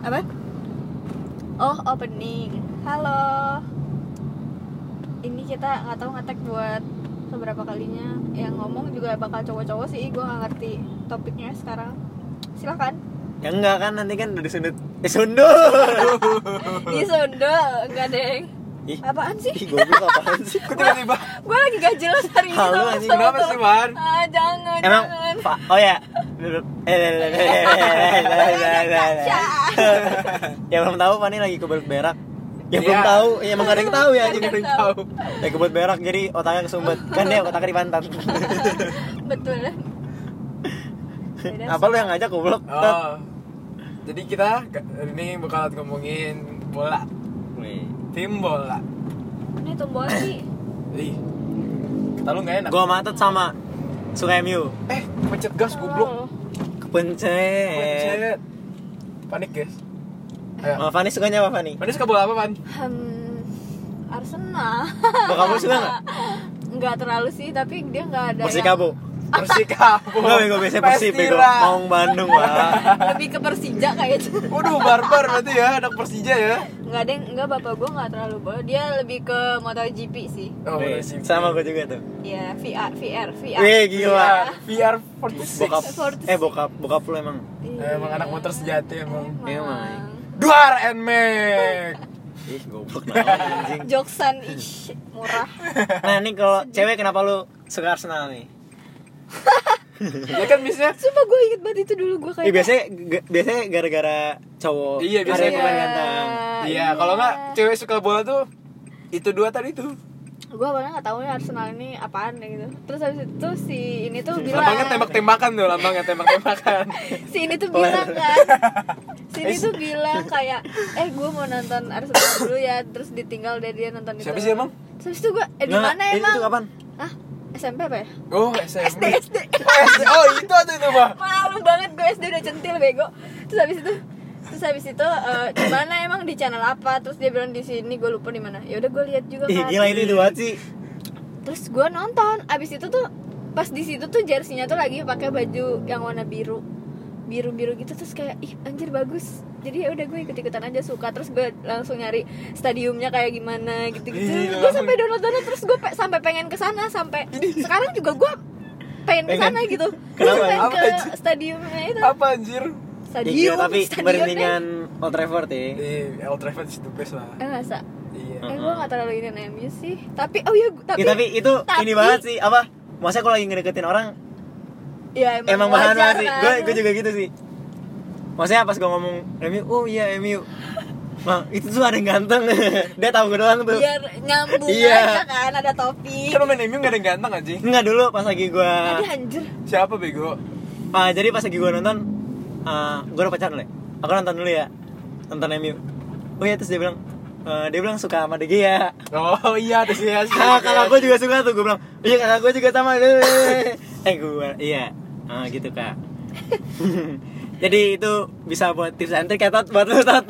apa oh opening halo ini kita nggak tahu ngetek buat seberapa kalinya yang ngomong juga bakal cowok-cowok sih gue nggak ngerti topiknya sekarang silakan Ya enggak kan nanti kan udah disundut. Eh sundut. di Sunda enggak deng Ih. apaan sih Ih, goblok apaan sih? Kok tiba-tiba gue lagi gak jelas hari ini Halo, sama- anjing, sama kenapa tuh. sih, Wan? ah jangan Emang jangan Pak, oh ya. Eh, eh, eh, eh, eh, eh, eh, eh. Yang belum tahu Fani lagi kebelet berak. Yang belum Iya. tahu, ya emang gak ada yang tahu ya anjing. Nggak ada yang tahu. Lagi kebelet berak jadi otaknya kesumbat. Kan dia otaknya di pantat. betul Beda Apa lu yang ngajak goblok? Tet. Oh. Jadi kita ke- hari ini bakal ngomongin bola, Wih. tim bola. ini tombol sih Ih. Kata lu enggak enak. Gua matet sama suka MU. Eh, pencet gas Oh. goblok. Kepencet. Pencet. Panik, guys. Ayo. Sama Fani sukanya apa Fani? Panis ke bola apa, Pan? hmm, Arsenal Lo kamu suka nggak? nggak terlalu sih tapi dia nggak ada Persikabo. Persikabo. Enggak bego biasanya Persib bego. Pestira. Maung Bandung lah. yang lebih ke Persija kayaknya Waduh, barbar berarti ya, anak Persija ya. nggak deng nggak bapak gue nggak terlalu bola dia lebih ke MotoGP sih Oh, Wih, Persib. sama gue juga tuh. ya Iya. VR VR VR Wih gila. VR Bokap 46. eh bokap bokap lu emang. Iya. Emang anak motor sejati emang. Iya, Emang. Duar and Mac. Ih goblok banget anjing. Joksan ih murah Nah, ini kalau cewek kenapa lu suka Arsenal nih? ya kan biasanya Sumpah gue inget banget itu dulu gue kayak Eh biasanya ga- biasanya gara-gara cowok Iya, biasanya. ada yang pemain ganteng. Iya, kalau nggak cewek suka bola tuh itu dua tadi tuh. Gue awalnya gak tau nih Arsenal ini apaan ya gitu Terus habis itu si ini tuh bilang Lambangnya tembak-tembakan tuh, lambangnya tembak-tembakan. Si ini tuh bilang kan Si ini Eh, tuh bilang kayak Eh gue mau nonton Arsenal dulu ya Terus ditinggal deh dia nonton itu Siapa sih emang? Terus itu gue Eh di Nggak, mana ini emang? tuh kapan? Hah? SMP apa ya? Oh, SMP. SD. Oh, SD. Oh, itu tuh itu, Bang. Malu banget gue SD udah centil bego Terus habis itu terus habis itu eh, di mana emang di channel apa terus dia bilang di sini gue lupa di mana ya udah gue lihat juga Ih kan gila ini dua sih. terus gue nonton abis itu tuh pas di situ tuh jersinya tuh lagi pakai baju yang warna biru biru biru gitu terus kayak ih anjir bagus jadi ya udah gue ikut ikutan aja suka terus gue langsung nyari stadiumnya kayak gimana gitu Iya, gitu Ih, gue langsung- sampai download download terus gue pe- sampai pengen kesana sampai sekarang juga gue pengen kesana gitu terus Kenapa? pengen Apa ke aja? stadiumnya itu Apa anjir? Iya, stadium gila, tapi stadium mendingan Old Trafford ya. Di El Travel itu best lah. eh masa Iya. eh gue gak terlalu ingin MU sih tapi oh iya gua- tapi Ya, tapi itu ini tapi- banget sih apa? Masa kalau lagi ngedeketin orang ya emang emang, bahan wajar banget sih. kan. Gue gue juga gitu sih. Maksudnya pas gue ngomong MU, oh iya MU. Nah, itu tuh ada yang ganteng. Dia tahu gue doang tuh. biar nyambung Iya. aja kan ada topik Kan main MU nggak ada yang ganteng anjing. Enggak dulu pas lagi gue Tadi anjir Siapa bego? ah, jadi pas lagi gue nonton gue udah pacaran dulu ya. Aku nonton dulu ya. Nonton MU. Oh iya terus dia bilang eh, dia bilang suka sama De Gea. Oh iya, ada sih. Ah, kakak gue juga suka tuh, gue bilang, iya kakak gue juga sama Eh gue, iya, ah, gitu kak Jadi itu bisa buat tips and trick ya Tot, buat lu Tot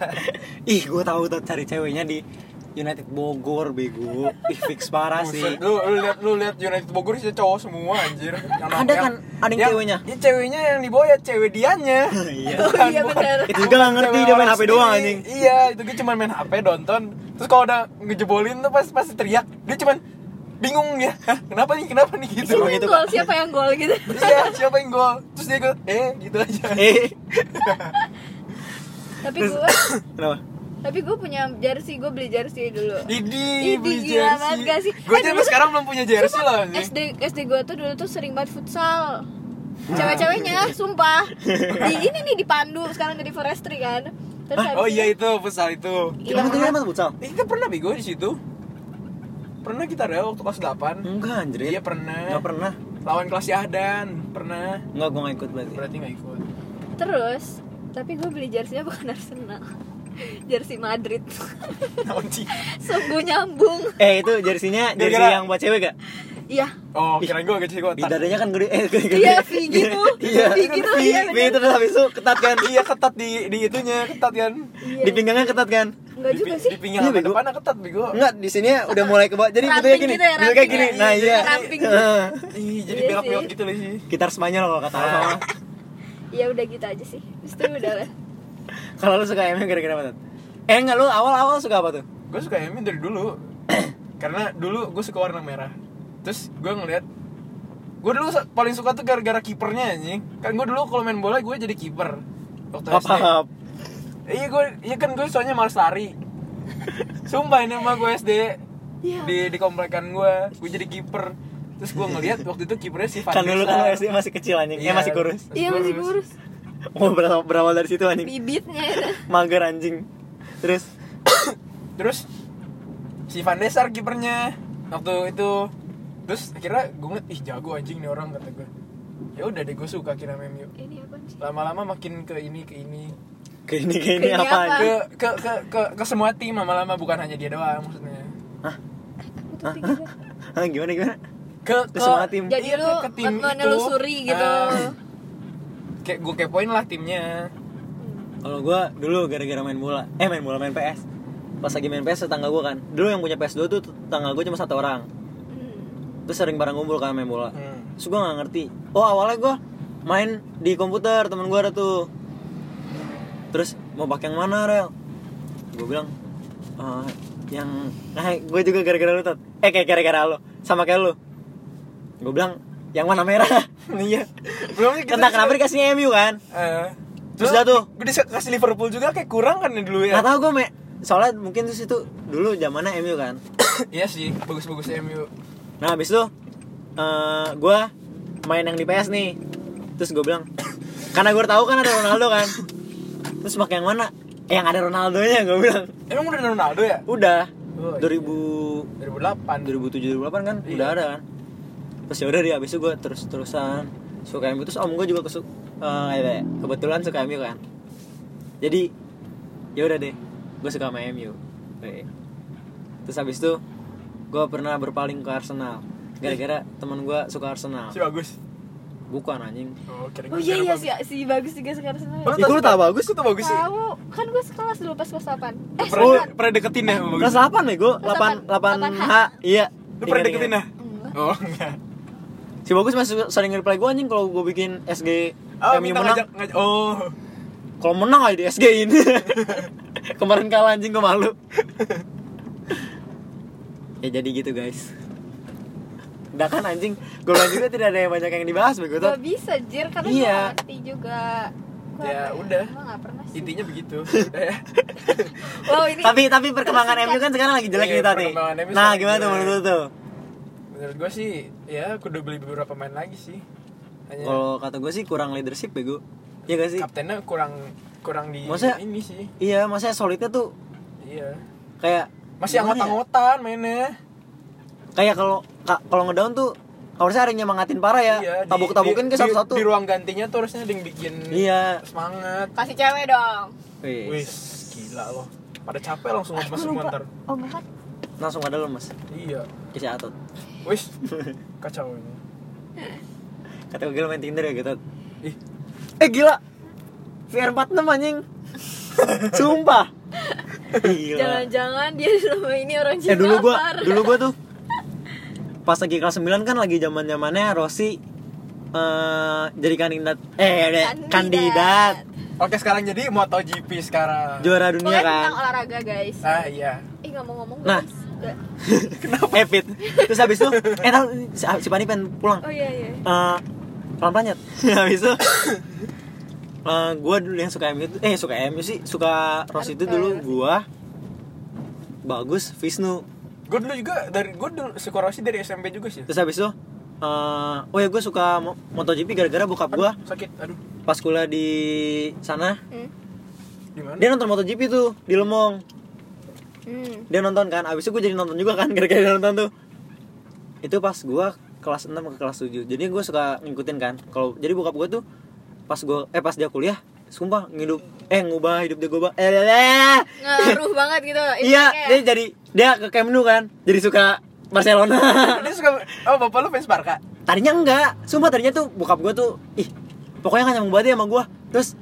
Ih gue tahu Tot cari ceweknya di United Bogor bego Ih fix parah sih Buset, lu lu lihat lu lihat United Bogor sih cowok semua anjir. Yang- Ada kan? Ada yang ceweknya? Iya ceweknya yang dibawa ya cewek dianya. Iya. Oh Bukan, iya, bukan. benar. Itu juga nggak ngerti, Cewek dia main orang HP doang, sendiri. anjing. Iya, itu gue cuma main HP nonton. Terus kalau udah ngejebolin tuh pas pasti teriak. Dia cuman bingung ya. Hah, kenapa nih? Kenapa nih gitu. Siapa Emang yang gitu, gol? Kak. Siapa yang gol gitu? Iya, siapa yang gol? Terus dia ikut, eh gitu aja. Eh, tapi gue kenapa? tapi gue punya jersey, gue beli jersey dulu. Idi, Idi, beli gila banget jersey. gak sih? Gue Eh, dulu aja sampai tuh- sekarang belum punya jersey Sumpah, loh anjing. Ah. SD SD gue tuh dulu tuh sering banget futsal. Cewek-ceweknya, sumpah. Di ini nih dipandu sekarang jadi forestry kan. Terus Hah? habis Oh iya itu- itu futsal itu. Iya. Kita ketemu apa tuh futsal? Eh, kita pernah bego di situ. Pernah kita ada waktu kelas 8. Enggak anjir Iya pernah. Enggak pernah Lawan kelas Yahdan, pernah. Enggak gue gak ikut berarti Berarti nggak ikut. Terus tapi gue beli jerseynya bukan Arsenal. Jersey Madrid. Anjing. Sungguh nyambung. Eh itu jersinya, jersi Gara-gara- yang buat cewek gak? Iya. Oh, kirain gue gak gue Ih, dadanya kan gede, eh gede, Iya, V gitu. Iya, V gitu, iya, V bener. terus habis itu ketat kan Iya ketat di di itunya ketat kan. Iya. Di pinggangnya ketat kan Enggak Di juga pi- sih. Di pinggang Iya, apa bego. depannya ketat bego. Enggak, di sini udah mulai ke bawah Jadi Ramping bentuknya gini, gitu ya, bentuknya ramping gini ya. Nah iya Ramping. Heeh. Ih, jadi Iya belok-belok sih. gitu loh sih. Gitar Spanyol kalau kata orang ya udah gitu aja sih Terus itu udah lah Kalau lu suka MU gara-gara apa? Tat? Eh enggak lu awal-awal suka apa tuh? gue suka MU dari dulu karena dulu gue suka warna merah terus gue ngeliat gue dulu sa- paling suka tuh gara-gara kipernya anjing kan gue dulu kalau main bola gue jadi kiper waktu SD Apa? iya gue iya kan gue soalnya males lari sumpah ini mah gue SD Iya. di di komplekan gue gue jadi kiper terus gue ngeliat waktu itu kipernya si Van Kan der dulu kan lu Sar. SD masih kecil anjing, eh Iya. masih kurus. Iya masih kurus. Oh, berawal, berawal dari situ Iya. anjing. Bibitnya. Mager anjing. Terus terus si Van Desar kipernya waktu itu terus akhirnya gue ngeliat ih jago anjing nih orang kata gue ya udah deh gue suka kira MU Ini apa sih? lama-lama makin ke ini ke ini ke ini ke Ke ini ini apa apa? anjing? ke ke ke ke, ke semua tim lama-lama bukan hanya dia doang maksudnya Aku tuh pikir. Hah, gimana gimana? ke Ke semua tim. Jadi iya, lu ke- ke tim itu. menelusuri gitu. Ah, kayak gue kepoin lah timnya Kalau gua dulu gara-gara main bola, eh main bola main PS. Pas lagi main PS tetangga gua kan. Dulu yang punya PS2 tuh tetangga gua cuma satu orang. Hmm. Terus sering bareng ngumpul kan main bola. Hmm. Terus gue gak ngerti Oh awalnya gue main di komputer temen gue ada tuh Terus mau pakai yang mana Rel? Gue bilang "Eh, Yang Nah gue juga gara-gara lu Tot Eh kayak gara-gara lu Sama kayak lu Gue bilang Yang mana merah Iya belum kita Tentang kenapa dikasihnya MU kan Eh, Terus dah tuh. gue dikasih Liverpool juga kayak kurang kan ya dulu ya Gak tau gue me Soalnya mungkin terus itu Dulu zamannya MU kan iya sih bagus-bagus MU Nah abis itu eh gue main yang di PS nih Terus gue bilang Karena gue tahu kan ada Ronaldo kan Terus pakai yang mana? Eh, yang ada Ronaldonya gue bilang emang udah ada Ronaldo ya Udah Oh, iya. 2000 2008 2007 2008 kan Iya. udah ada kan Terus yaudah dia abis itu gue terus-terusan Suka MU Terus om gue juga kesu eh, ya, Kebetulan suka MU kan Jadi yaudah deh Gue suka sama MU Weh. Terus abis itu Gue pernah berpaling ke Arsenal Gara-gara teman gue suka Arsenal si bagus Bukan anjing. oh, kira Oh iya iya si, si bagus juga sekarang senang. Lu- Ya, gua tahu bagus. tuh Oh, bagus sih Tahu kan gue sekelas dulu pas kelas 8 Eh pernah, sekelas. pernah deketin ya sama bagus Kelas 8 nih gue, 8 delapan. 8 H. Iya. lu pernah Ingat, deketin ya ingat. Enggak. oh enggak Si Bagus masih sering reply gue anjing kalau gue bikin SG oh MU minta ngajak menang. ngajak oh Kalau menang aja di SG ini. Kemarin kalah anjing gue malu. ya jadi gitu guys. Udah kan anjing, gue bilang juga tidak ada yang banyak yang dibahas begitu. Nah, Gak bisa jir karena Iya. gue ngerti juga. Gua Ya, apa udah. Gua nggak pernah sih. intinya begitu udah ya Wow ini Tapi tapi perkembangan MU kan sekarang lagi jelek Iya, nih tadi. perkembangan Nah MU sekarang gimana tuh jelek. menurut lu tuh? menurut gue sih ya aku udah beli beberapa pemain lagi sih hanya Kalau kata gue sih kurang leadership bego. Iya gak sih? kaptennya kurang kurang di Maksudnya- ini sih Iya, maksudnya solidnya tuh iya kayak masih gimana ya? angot-angotan mainnya kayak kalau ka- kalau ngedown tuh harusnya ada yang nyemangatin parah ya Iya, di- tabuk-tabukin di- ke satu-satu di, di ruang gantinya tuh harusnya ada yang bikin iya semangat kasih cewek dong. Wih, wis gila loh pada capek langsung Aku masuk lupa. mantar Oh enggak. langsung ada lemes iya ke si Atot wis kacau ini kata gue gila main Tinder ya gitu ih eh gila VR46 anjing sumpah gila Jangan-jangan dia selama ini orang eh cinta. Iya. dulu gua dulu gua tuh pas lagi kelas 9 kan lagi zaman zamannya Rossi eh jadi kandidat eh kandidat, kandidat oke sekarang jadi MotoGP sekarang juara dunia Pokoknya kan tentang olahraga guys. ah iya Ih nggak mau ngomong Nah. guys. Nggak. Epit. Eh, Terus habis itu, eh tahu si, si Pani pengen pulang. Oh iya iya. Eh, pelan-pelan ya. habis itu eh gue dulu yang suka MU itu eh suka MU sih suka Ros itu dulu gua bagus Visnu gue dulu juga dari gue dulu suka Rossi dari SMP juga sih terus habis itu eh oh ya gue suka mo- MotoGP gara-gara bokap gua Aduh, sakit aduh pas kuliah di sana Hmm. gimana dia nonton MotoGP tuh di Lemong Hmm. dia nonton kan abis itu gue jadi nonton juga kan gara-gara dia nonton tuh itu pas gue kelas 6 ke kelas 7 jadi gue suka ngikutin kan kalau jadi bokap gue tuh pas gue eh pas dia kuliah sumpah ngidup eh ngubah hidup dia gue eh, eh, eh. Ngaruh banget gitu. iya Impactnya dia ya. jadi dia ke Camp Nou kan jadi suka Barcelona dia suka oh bapak lu fans Barca tadinya enggak sumpah tadinya tuh bokap gue tuh ih pokoknya kan nyambung banget ya sama gue terus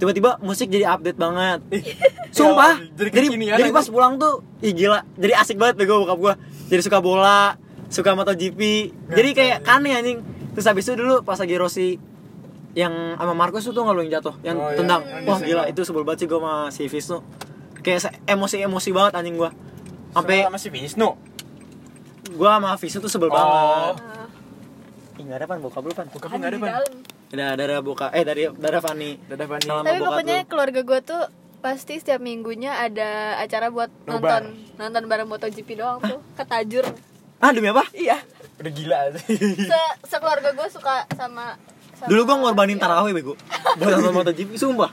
tiba-tiba musik jadi update banget Sumpah. Ya, jadi jadi jadi, kekinian aja. pas pulang tuh ih gila. Jadi asik banget bego bokap gua. Jadi suka bola, suka MotoGP. Jadi kayak iya. aneh anjing. Terus habis itu dulu pas lagi Rossi yang sama Marcus tuh nggak lu yang jatuh yang Oh, iya. tendang Yang wah disenggol. gila itu sebel banget sih gue sama si Visnu kayak se- emosi-emosi banget anjing gue sampai sama si Wisnu. gue sama Visnu tuh sebel Oh. banget Ah, Ih, nggak ada pan bokap lu pan Bokap ada lu nggak ada, di Pan. dalam. ada darah boka eh dari darah Fani Dadah, Fani. Salam. Tapi bokap pokoknya lu. keluarga gue tuh pasti setiap minggunya ada acara buat Nobar. nonton nonton bareng MotoGP doang tuh ketajur ah demi apa iya Udah gila sih. se sekeluarga gue suka sama, sama Iya. dulu gue ngorbanin tarawih bego buat nonton MotoGP sumpah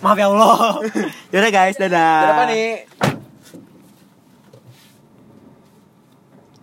maaf ya Allah yaudah guys dadah Dadah, Fani.